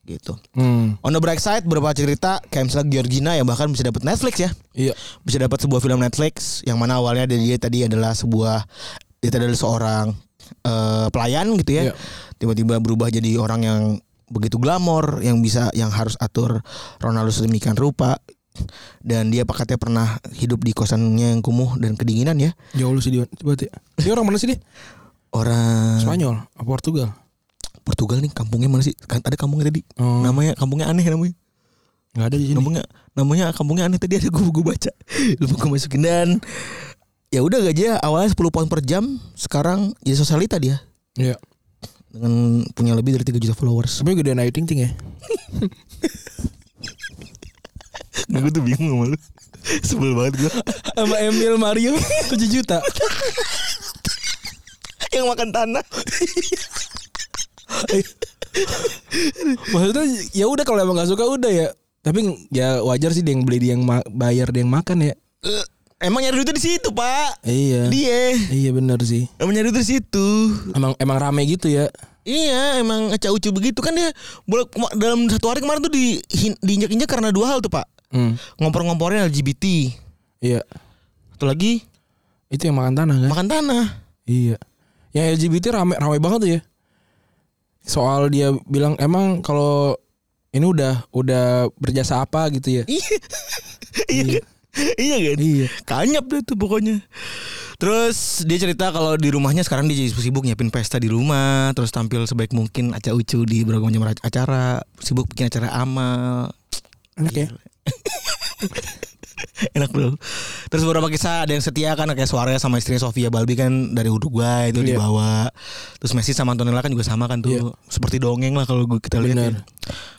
Gitu.
hmm.
On the bright side, beberapa cerita kayak misalnya Georgina yang bahkan bisa dapat Netflix ya,
iya
bisa dapat sebuah film Netflix yang mana awalnya dia, dia tadi adalah sebuah dia tadi adalah seorang eh, pelayan gitu ya,
Iya.
tiba-tiba berubah jadi orang yang begitu glamor, yang bisa yang harus atur Ronaldo sedemikian rupa dan dia pakatnya pernah hidup di kosannya yang kumuh dan kedinginan ya
jauh lu sih dia coba dia dia orang mana sih dia
orang
Spanyol apa Portugal
Portugal nih kampungnya mana sih kan ada kampungnya tadi
Oh.
namanya kampungnya aneh namanya
nggak ada di sini
namanya namanya kampungnya aneh tadi *laughs* ada gue gue baca lupa gue masukin dan ya udah gajinya awalnya 10 pound per jam sekarang jadi sosialita dia
iya
dengan punya lebih dari 3 juta *laughs* followers
tapi gedean ayu ting ting ya
gue tuh bingung sama lu *laughs* sebel banget gue
sama Emil *laughs* Mario 7 juta
*laughs* yang makan *laughs* tanah
maksudnya ya udah kalau emang gak suka udah ya tapi ya wajar sih dia yang beli dia yang ma- bayar dia yang makan ya
Eh, emang nyari duitnya di situ pak
iya
dia
iya benar sih
emang nyari duit di situ
emang emang rame gitu ya
iya emang acau ucu begitu kan dia bolak dalam satu hari kemarin tuh di diinjak injak karena dua hal tuh pak
hmm.
ngompor-ngomporin LGBT
iya
satu lagi
itu yang makan tanah kan
makan tanah
iya yang LGBT rame rame banget tuh ya soal dia bilang emang kalau ini udah udah berjasa apa gitu ya
Iya. *laughs* Iya kan? Iya kan?
Iya.
Kanyap deh tuh pokoknya. Terus dia cerita kalau di rumahnya sekarang dia jadi sibuk nyiapin pesta di rumah, terus tampil sebaik mungkin aca ucu di berbagai macam acara, sibuk bikin acara amal.
enak ya
*laughs* enak bro terus beberapa kisah ada yang setia kan kayak Suarez sama istrinya Sofia Balbi kan dari Uruguay itu
Iya.
dibawa terus Messi sama Antonella kan juga sama kan tuh
Iya.
seperti dongeng lah kalau gua- kita lihat ya.
Benar.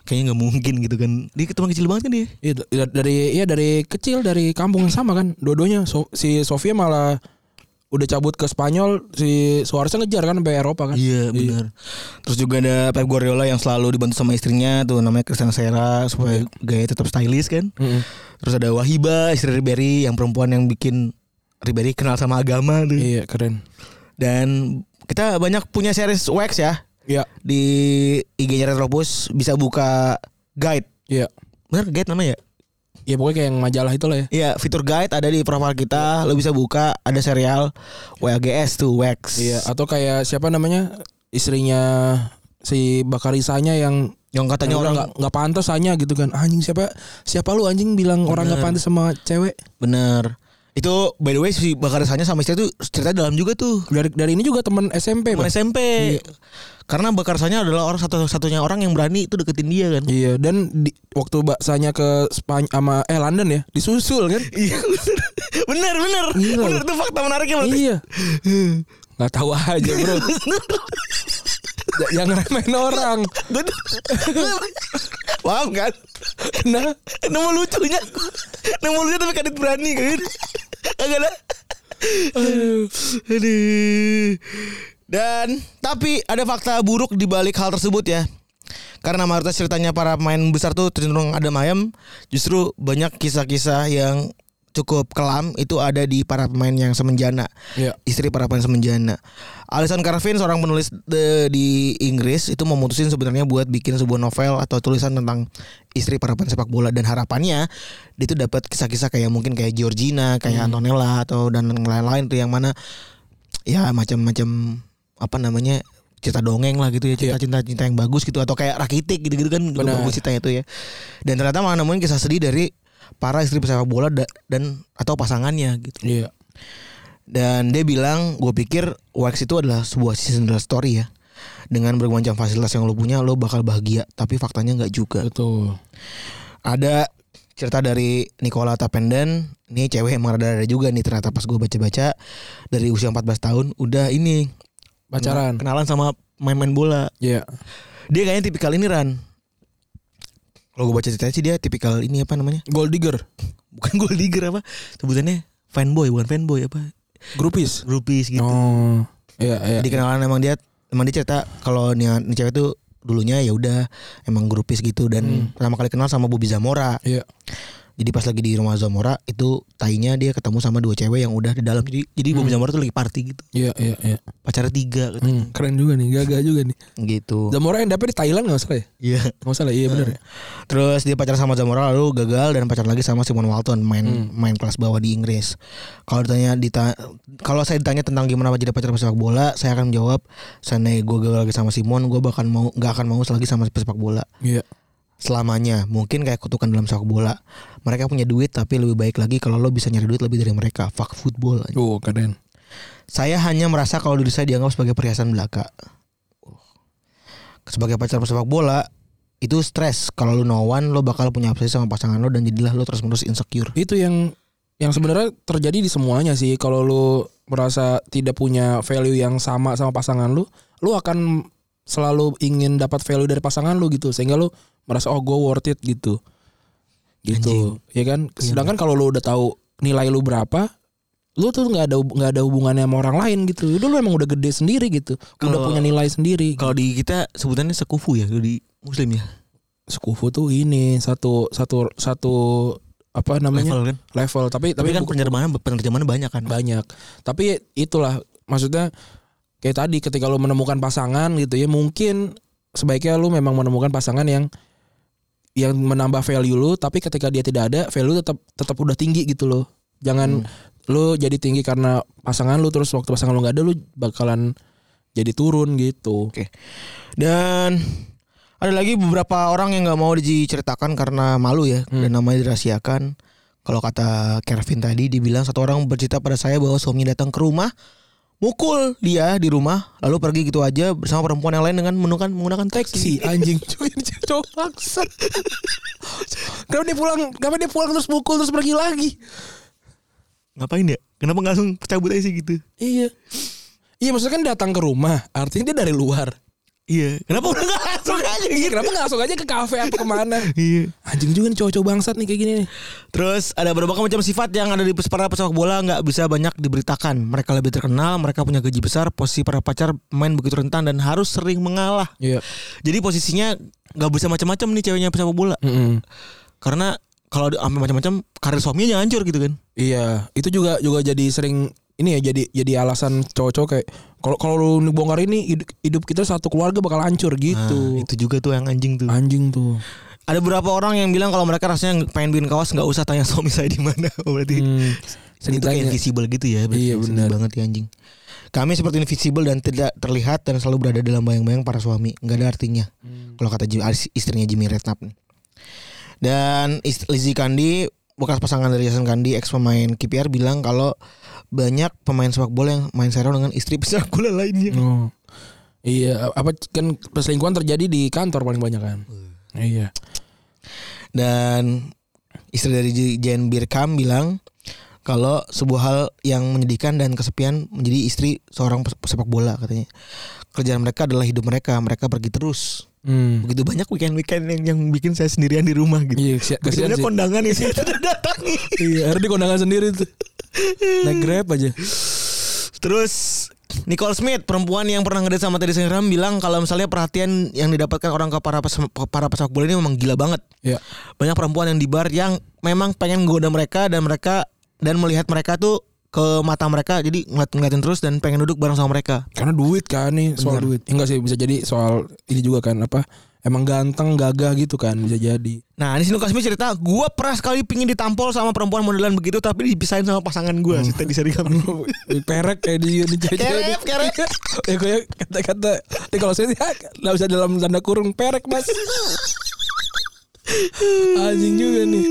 kayaknya nggak mungkin gitu kan dia ketemu kecil banget kan dia
Iya d- da- dari iya dari kecil dari kampung yang sama kan. Dua-duanya So- si Sofia malah udah cabut ke Spanyol, si Suarez ngejar kan sampai Eropa kan.
Iya benar. Terus juga ada Pep Guardiola yang selalu dibantu sama istrinya tuh namanya Christian Sera supaya gaya tetap stylish kan.
Mm-mm.
Terus ada Wahiba istri Ribery yang perempuan yang bikin Ribery kenal sama agama tuh.
Iya, keren.
Dan kita banyak punya series wax ya
Iya,
di IG-nya Retropus bisa buka guide.
iya.
Bener guide namanya ya?
Ya pokoknya kayak yang majalah itulah ya.
Iya, fitur guide ada di profile kita, lo bisa buka ada serial WAGS tuh wax.
Iya, atau kayak siapa namanya? Istrinya si Bakarisanya yang
Yang katanya
yang
orang
nggak nggak pantas hanya gitu kan anjing siapa siapa lu anjing bilang orang nggak pantas sama cewek
Bener. Itu by the way si Bakarisanya sama istri tuh cerita dalam juga tuh.
dari dari ini juga teman SMP
Teman
Pak.
SMP.
Iya.
Karena Bakarisanya adalah orang satu-satunya orang yang berani itu deketin dia kan.
Iya dan di, waktu baksanya ke Spanyol sama eh London ya disusul kan
Iya *laughs* bener bener
Iya.
bener itu fakta menariknya berarti.
iya nggak tahu aja bro yang remehin orang
Gue tuh *laughs* Paham kan
nah
Nemu lucunya Nemu lucunya tapi kadit berani kan Agak lah Aduh Dan Tapi ada fakta buruk di balik hal tersebut ya karena mayoritas ceritanya para pemain besar tuh cenderung ada mayem Justru banyak kisah-kisah yang cukup kelam Itu ada di para pemain yang semenjana
Iya.
istri para pemain semenjana. Alison Carvin seorang penulis de- di Inggris itu memutusin sebenarnya buat bikin sebuah novel atau tulisan tentang istri para pemain sepak bola dan harapannya dia itu dapat kisah-kisah kayak mungkin kayak Georgina,
Hmm.
kayak Antonella atau dan yang lain-lain tuh yang mana ya macam-macam apa namanya cerita dongeng lah gitu ya cerita cinta cinta yang bagus gitu atau kayak rakitik gitu-gitu kan juga
Iya. Benar.
bagus ceritanya itu ya dan ternyata malah nemuin kisah sedih dari para istri sepak bola da- dan atau pasangannya gitu
iya
dan dia bilang gue pikir wax itu adalah sebuah Cinderella story ya dengan bermacam fasilitas yang lo punya lo bakal bahagia tapi faktanya nggak juga
betul
ada cerita dari Nicola Tapenden ini cewek emang rada-rada juga nih ternyata pas gue baca-baca dari usia 14 tahun udah ini
pacaran
kenalan sama main-main bola
iya
dia kayaknya tipikal ini Ran kalau gue baca ceritanya sih dia tipikal ini apa namanya *laughs*
gold digger
bukan gold digger apa sebutannya fanboy bukan fanboy apa
grupis
groupies gitu
oh iya iya
Jadi kenalan emang dia emang dia cerita kalau nih, nih cewek tuh dulunya ya udah emang grupis gitu dan pertama kali kenal sama Bobby Zamora.
iya
Jadi pas lagi di rumah Zamora itu tainya dia ketemu sama dua cewek yang udah di dalam. Jadi jadi Bobby Zamora tuh lagi party gitu.
iya iya iya
Pacarnya tiga gitu. katanya.
Hmm, keren juga nih gagah juga nih
gitu.
Zamora yang dapet di Thailand nggak salah ya
Iya.
nggak salah iya benar ya
Terus dia pacaran sama Zamora lalu gagal dan pacaran lagi sama Simon Walton main main kelas bawah di Inggris. Kalau ditanya dita- kalau saya ditanya tentang gimana jadi pacar pesepak bola, saya akan menjawab seandainya gue gagal lagi sama Simon, gue bahkan mau nggak akan mau lagi sama pesepak bola.
iya
selamanya mungkin kayak kutukan dalam sepak bola mereka punya duit tapi lebih baik lagi kalau lo bisa nyari duit lebih dari mereka fuck football anjing.
oh keren
saya hanya merasa kalau diri saya dianggap sebagai perhiasan belaka Uh. sebagai pacar pesepak bola itu stres kalau lu no one lo bakal punya obsesi sama pasangan lo dan jadilah lo terus menerus insecure
itu yang yang sebenarnya terjadi di semuanya sih kalau lu merasa tidak punya value yang sama sama pasangan lu lu akan selalu ingin dapat value dari pasangan lu gitu sehingga lu merasa oh gue worth it gitu gitu ya kan
Iya,
sedangkan kalau lu udah tahu nilai lu berapa lu tuh nggak ada hub- nggak ada hubungannya sama orang lain gitu udah lu emang udah gede sendiri gitu udah
Kalau-
punya nilai sendiri
kalau di kita sebutannya sekufu ya kalau di muslim ya
sekufu tuh ini satu satu satu apa namanya
level kan
level, tapi
tapi,
tapi,
kan
bukan-
penerjemahan penerjemahan banyak kan
banyak tapi itulah maksudnya kayak tadi ketika lu menemukan pasangan gitu ya mungkin sebaiknya lu memang menemukan pasangan yang yang menambah value lu tapi ketika dia tidak ada value tetap tetap udah tinggi gitu loh jangan lu jadi tinggi karena pasangan lu terus waktu pasangan lu nggak ada lu bakalan jadi turun gitu
Oke. Dan ada lagi beberapa orang yang nggak mau diceritakan karena malu ya dan namanya dirahasiakan. Kalau kata Kevin tadi dibilang satu orang bercerita pada saya bahwa suaminya datang ke rumah mukul dia di rumah lalu pergi gitu aja bersama perempuan yang lain dengan menggunakan menggunakan
si
taksi.
anjing *laughs* cuy ini cowok bangsat kenapa dia pulang kenapa dia pulang terus mukul terus pergi lagi
Ngapain ya? Kenapa nggak langsung cabut aja sih gitu?
iya iya maksudnya kan datang ke rumah artinya dia dari luar
Iya. Kenapa udah nggak langsung aja
iya
gitu?
kenapa nggak langsung aja ke kafe atau kemana
Iya.
anjing juga nih cowok-cowok bangsat nih kayak gini nih.
Terus ada berbagai macam sifat yang ada di para pesepak bola nggak bisa banyak diberitakan. Mereka lebih terkenal, mereka punya gaji besar, posisi para pacar main begitu rentan dan harus sering mengalah.
iya
Jadi posisinya nggak bisa macam-macam nih ceweknya pesepak bola.
Mm-mm.
Karena kalau di- sampai macam-macam karir suaminya jangan hancur gitu kan.
Iya, itu juga juga jadi sering ini ya jadi jadi alasan cowok-cowok kayak kalau kalau lu bongkar ini hidup, hidup kita satu keluarga bakal hancur
Nah,
gitu.
itu juga tuh yang anjing tuh.
Anjing tuh.
Ada beberapa orang yang bilang kalau mereka rasanya pengen bikin kaos nggak usah tanya suami saya di mana. *laughs* Oh, Berarti
Hmm.
itu kayak invisible gitu ya. berarti
Iya,
sedih
benar.
banget ya anjing. Kami seperti invisible dan tidak terlihat dan selalu berada dalam bayang-bayang para suami. Nggak ada artinya.
Hmm.
Kalau kata Jim- istrinya Jimmy Redknapp nih. Dan ist- Lizzie Kandi bekas pasangan dari Jason Kandi ex pemain KPR bilang kalau banyak pemain sepak bola yang main serong dengan istri pesepak bola lainnya.
Oh. Iya, apa kan perselingkuhan terjadi di kantor paling banyak kan? Iya.
Dan istri dari J- Jane Birkam bilang kalau sebuah hal yang menyedihkan dan kesepian menjadi istri seorang pes- pesepak bola katanya. Kerjaan mereka adalah hidup mereka, mereka pergi terus.
Hmm.
Begitu banyak weekend-weekend yang, yang bikin saya sendirian di rumah gitu.
Iya, kesi-
Begitu
kesian
banyak
sih.
kondangan yang saya tidak datangi.
Iya, harus dikondangan sendiri tuh. Naik Grab aja.
*laughs* Terus Nicole Smith, perempuan yang pernah ngedate sama Teddy Sheringham bilang kalau misalnya perhatian yang didapatkan orang ke para pes- para pesepak bola ini memang gila banget.
Iya.
banyak perempuan yang di bar yang memang pengen goda mereka dan mereka dan melihat mereka tuh ke mata mereka jadi ngeliat ngeliatin terus dan pengen duduk bareng sama mereka
Karena duit kan nih, soal
Bener.
duit. Enggak sih bisa jadi soal ini juga kan apa? Emang ganteng, gagah gitu kan bisa jadi.
nah ini sini Kasmi cerita gua pernah sekali pingin ditampol sama perempuan modelan begitu tapi dipisahin sama pasangan gua si Teddy
*laughs*
Sheringham
perek kayak di di
Kerep, kerep.
*laughs* ya gue kata-kata eh, kalau saya ya, nggak bisa dalam tanda kurung perek *laughs* mas anjing juga nih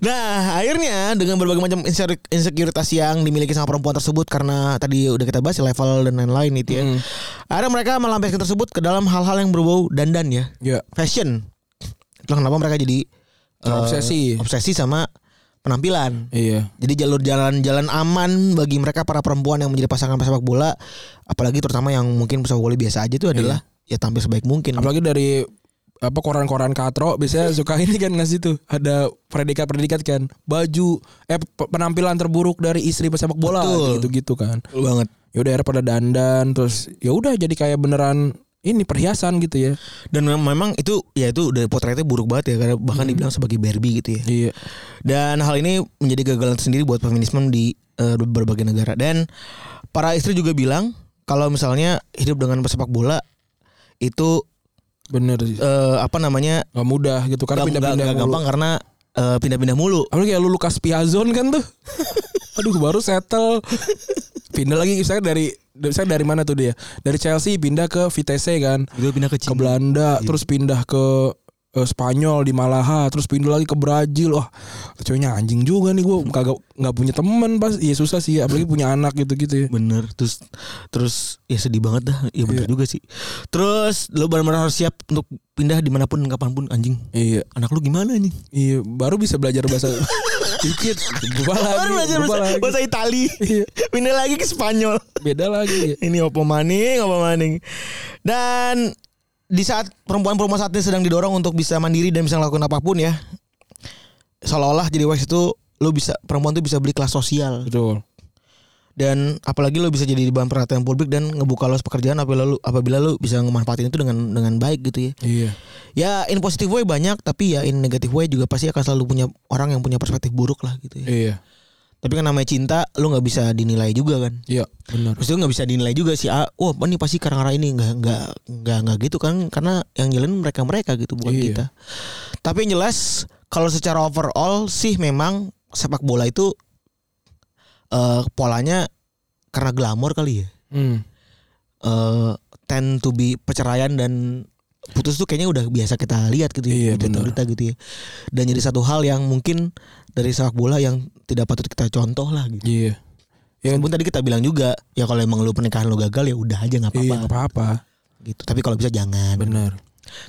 Nah akhirnya dengan berbagai macam inse- insekuritas yang dimiliki sama perempuan tersebut Karena tadi udah kita bahas ya, level dan lain-lain itu ya
Hmm.
Akhirnya mereka melampiaskan tersebut ke dalam hal-hal yang berbau dandan ya
ya
Fashion Itulah kenapa mereka jadi eh,
Terobsesi.
Obsesi sama penampilan
iya
Jadi jalur jalan-jalan aman bagi mereka para perempuan yang menjadi pasangan pesepak bola Apalagi terutama yang mungkin pesepak bola biasa aja itu adalah Ya tampil sebaik mungkin
apalagi dari apa koran-koran katro biasanya suka *laughs* ini kan ngasih tuh ada predikat-predikat kan baju eh pe- penampilan terburuk dari istri pesepak bola
Betul.
gitu-gitu kan
Betul banget
ya udah pada dandan terus ya udah jadi kayak beneran ini perhiasan gitu ya
Dan mem- memang itu ya itu udah potretnya buruk banget ya karena bahkan dibilang sebagai Barbie gitu ya.
iya
Dan hal ini menjadi gagalan sendiri buat feminisme di eh, berbagai negara dan para istri juga bilang kalau misalnya hidup dengan pesepak bola itu
bener sih
eh, apa namanya
Gak mudah gitu
nggak-
karena
nggak
pindah-pindah
nggak
mulu.
gampang karena eh, pindah-pindah mulu.
Apalagi kayak lu Lukas Piazon kan tuh. *laughs* Aduh baru settle. Pindah lagi saya dari saya dari mana tuh dia? Dari Chelsea pindah ke Vitesse kan.
Itu pindah
Ke Belanda, terus pindah ke eh, Spanyol di Malaha, terus pindah lagi ke Brazil. Wah, tuh ceweknya anjing juga nih gua kagak nggak punya teman pas. Iya susah sih, apalagi punya anak gitu-gitu ya.
Bener terus terus ya sedih banget dah ya
Iya.
bener juga sih terus lo benar-benar harus siap untuk pindah dimanapun kapanpun anjing
Iya,
anak lu gimana anjing
iya baru bisa belajar *laughs* bahasa dikit. Berubah lagi,
Baru belajar
berubah
bahasa,
lagi.
bahasa Itali
Iya.
*laughs* Pindah lagi ke Spanyol
Beda lagi. Iya.
Ini opo maning opo maning Dan Di saat perempuan-perempuan saat ini sedang didorong Untuk bisa mandiri dan bisa ngelakuin apapun ya Seolah-olah jadi wax itu Lu bisa Perempuan tuh bisa beli kelas sosial
Betul.
Dan apalagi lu bisa jadi bahan perhatian publik Dan ngebuka los pekerjaan Apabila lu, apabila lu bisa ngemanfaatin itu dengan dengan baik gitu ya
Iya.
Ya in positive way banyak Tapi ya in negative way juga pasti akan selalu punya Orang yang punya perspektif buruk lah gitu ya
Iya.
Tapi kan namanya cinta lu nggak bisa dinilai juga kan.
Iya, benar.
Terus itu nggak bisa dinilai juga sih. Ah, wah ini pasti karang-karang ini nggak nggak nggak nggak gitu kan karena yang jalan mereka mereka gitu bukan
Iya.
kita. Tapi yang jelas kalau secara overall sih memang sepak bola itu eh polanya karena glamor kali ya.
Hmm.
Eh tend to be perceraian dan putus tuh kayaknya udah biasa kita lihat gitu ya
Iya, benar.
berita gitu ya. Dan jadi satu hal yang mungkin dari sepak bola yang tidak patut kita contoh lah gitu.
Iya. Ya,
Meskipun tadi kita bilang juga ya kalau emang lu pernikahan lu gagal ya udah aja nggak
iya,
apa-apa
nggak apa-apa.
gitu. Tapi kalau bisa jangan.
Bener.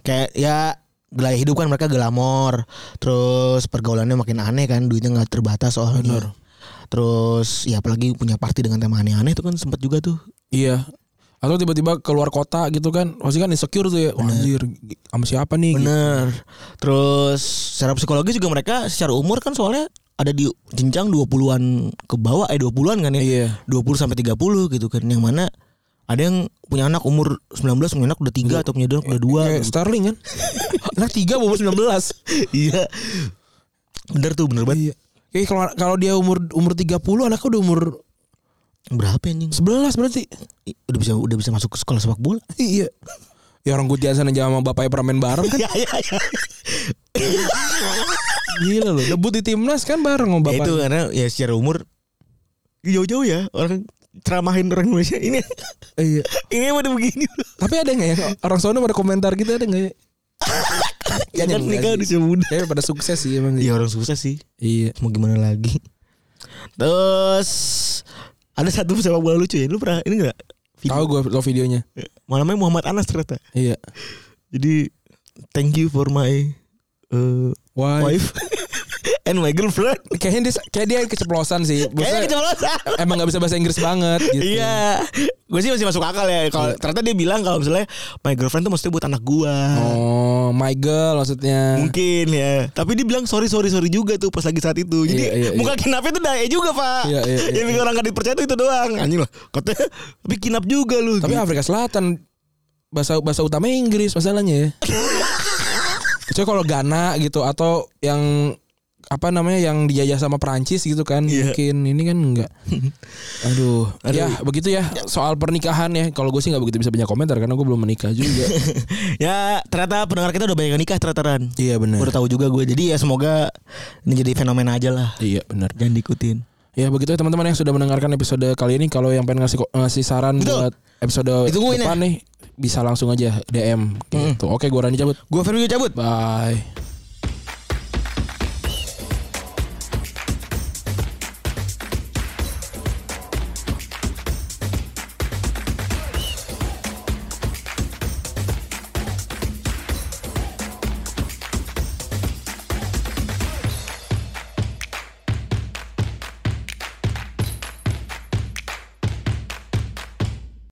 Kayak ya gaya hidup kan mereka gelamor, terus pergaulannya makin aneh kan, duitnya nggak terbatas soalnya. Terus ya apalagi punya party dengan tema aneh-aneh itu kan sempat juga tuh.
Iya. Atau tiba-tiba keluar kota gitu kan, pasti kan insecure tuh ya. Wah, anjir, sama siapa nih? Gitu.
Bener. Terus secara psikologi juga mereka secara umur kan soalnya ada di jenjang 20-an ke bawah eh 20-an kan ya.
Iya.
20 sampai 30 gitu kan. Yang mana ada yang punya anak umur 19 punya anak udah 3
Iya.
atau punya anak udah 2.
Kayak Sterling kan. *laughs* Anak tiga umur 19.
Iya. Bener tuh bener banget.
Iya. Eh kalau kalau dia umur umur 30 anaknya udah umur
Berapa anjing?
11 berarti.
Ih, Udah bisa udah bisa masuk ke sekolah sepak bola. *laughs*
Iya. Ya orang gue jalan aja sama bapaknya pernah main bareng kan
Iya iya iya.
*laughs* gila loh. Debut di timnas kan bareng sama
Ya,
bapak.
itu karena ya secara umur jauh-jauh ya orang ceramahin orang Indonesia ini *laughs*
Iya.
ini emang udah begini
Tapi ada nggak ya orang sono pada komentar gitu ada nggak ya?
jangan
enggak
nikah
sih.
usia muda
Kayaknya pada sukses sih emang.
ya orang susah sih
Iya.
mau gimana lagi terus ada satu sepak bola lucu ya lu pernah ini enggak
Tahu gue lo videonya.
malamnya Muhammad Anas ternyata
Iya.
jadi thank you for my uh,
Wah.
wife *laughs* and my girlfriend
Kayaknya dia kayak dia keceplosan sih.
kayaknya
Maksudnya
keceplosan
emang nggak bisa bahasa Inggris banget gitu. Iya.
Iya, gue sih masih masuk akal ya. Kalau ternyata dia bilang kalau misalnya my girlfriend tuh maksudnya buat anak gua.
Oh, my girl maksudnya.
Mungkin ya. Tapi dia bilang sorry sorry sorry juga tuh pas lagi saat itu. Jadi
Iya, iya,
muka kinapnya tuh dae juga pak.
Iya, iya, iya,
Yang bikin orang gak dipercaya tuh itu doang. Anjing lah. Katanya tapi kinap juga lu.
Tapi
Gitu.
Afrika Selatan bahasa bahasa utamanya Inggris masalahnya ya. Kecuali kalau Ghana gitu atau yang apa namanya yang dijajah sama Perancis gitu kan
Iya.
mungkin ini kan
*laughs*
enggak. Aduh.
Aduh.
Ya begitu ya soal pernikahan ya. Kalau gue sih nggak begitu bisa banyak komentar karena gue belum menikah juga.
*laughs* *laughs* ya ternyata pendengar kita udah banyak yang nikah ternyata Ran.
iya benar.
Baru tahu juga gue. Jadi ya semoga ini jadi fenomena aja lah.
Iya benar.
Jangan diikutin.
Ya begitu ya teman-teman yang sudah mendengarkan episode kali ini kalau yang pengen ngasih ko- ngasih saran
Betul.
buat episode
Ditungguin ya.
depan nih bisa langsung aja DM gitu. Oke, gue Rani cabut.
Gue Fermi cabut.
Bye.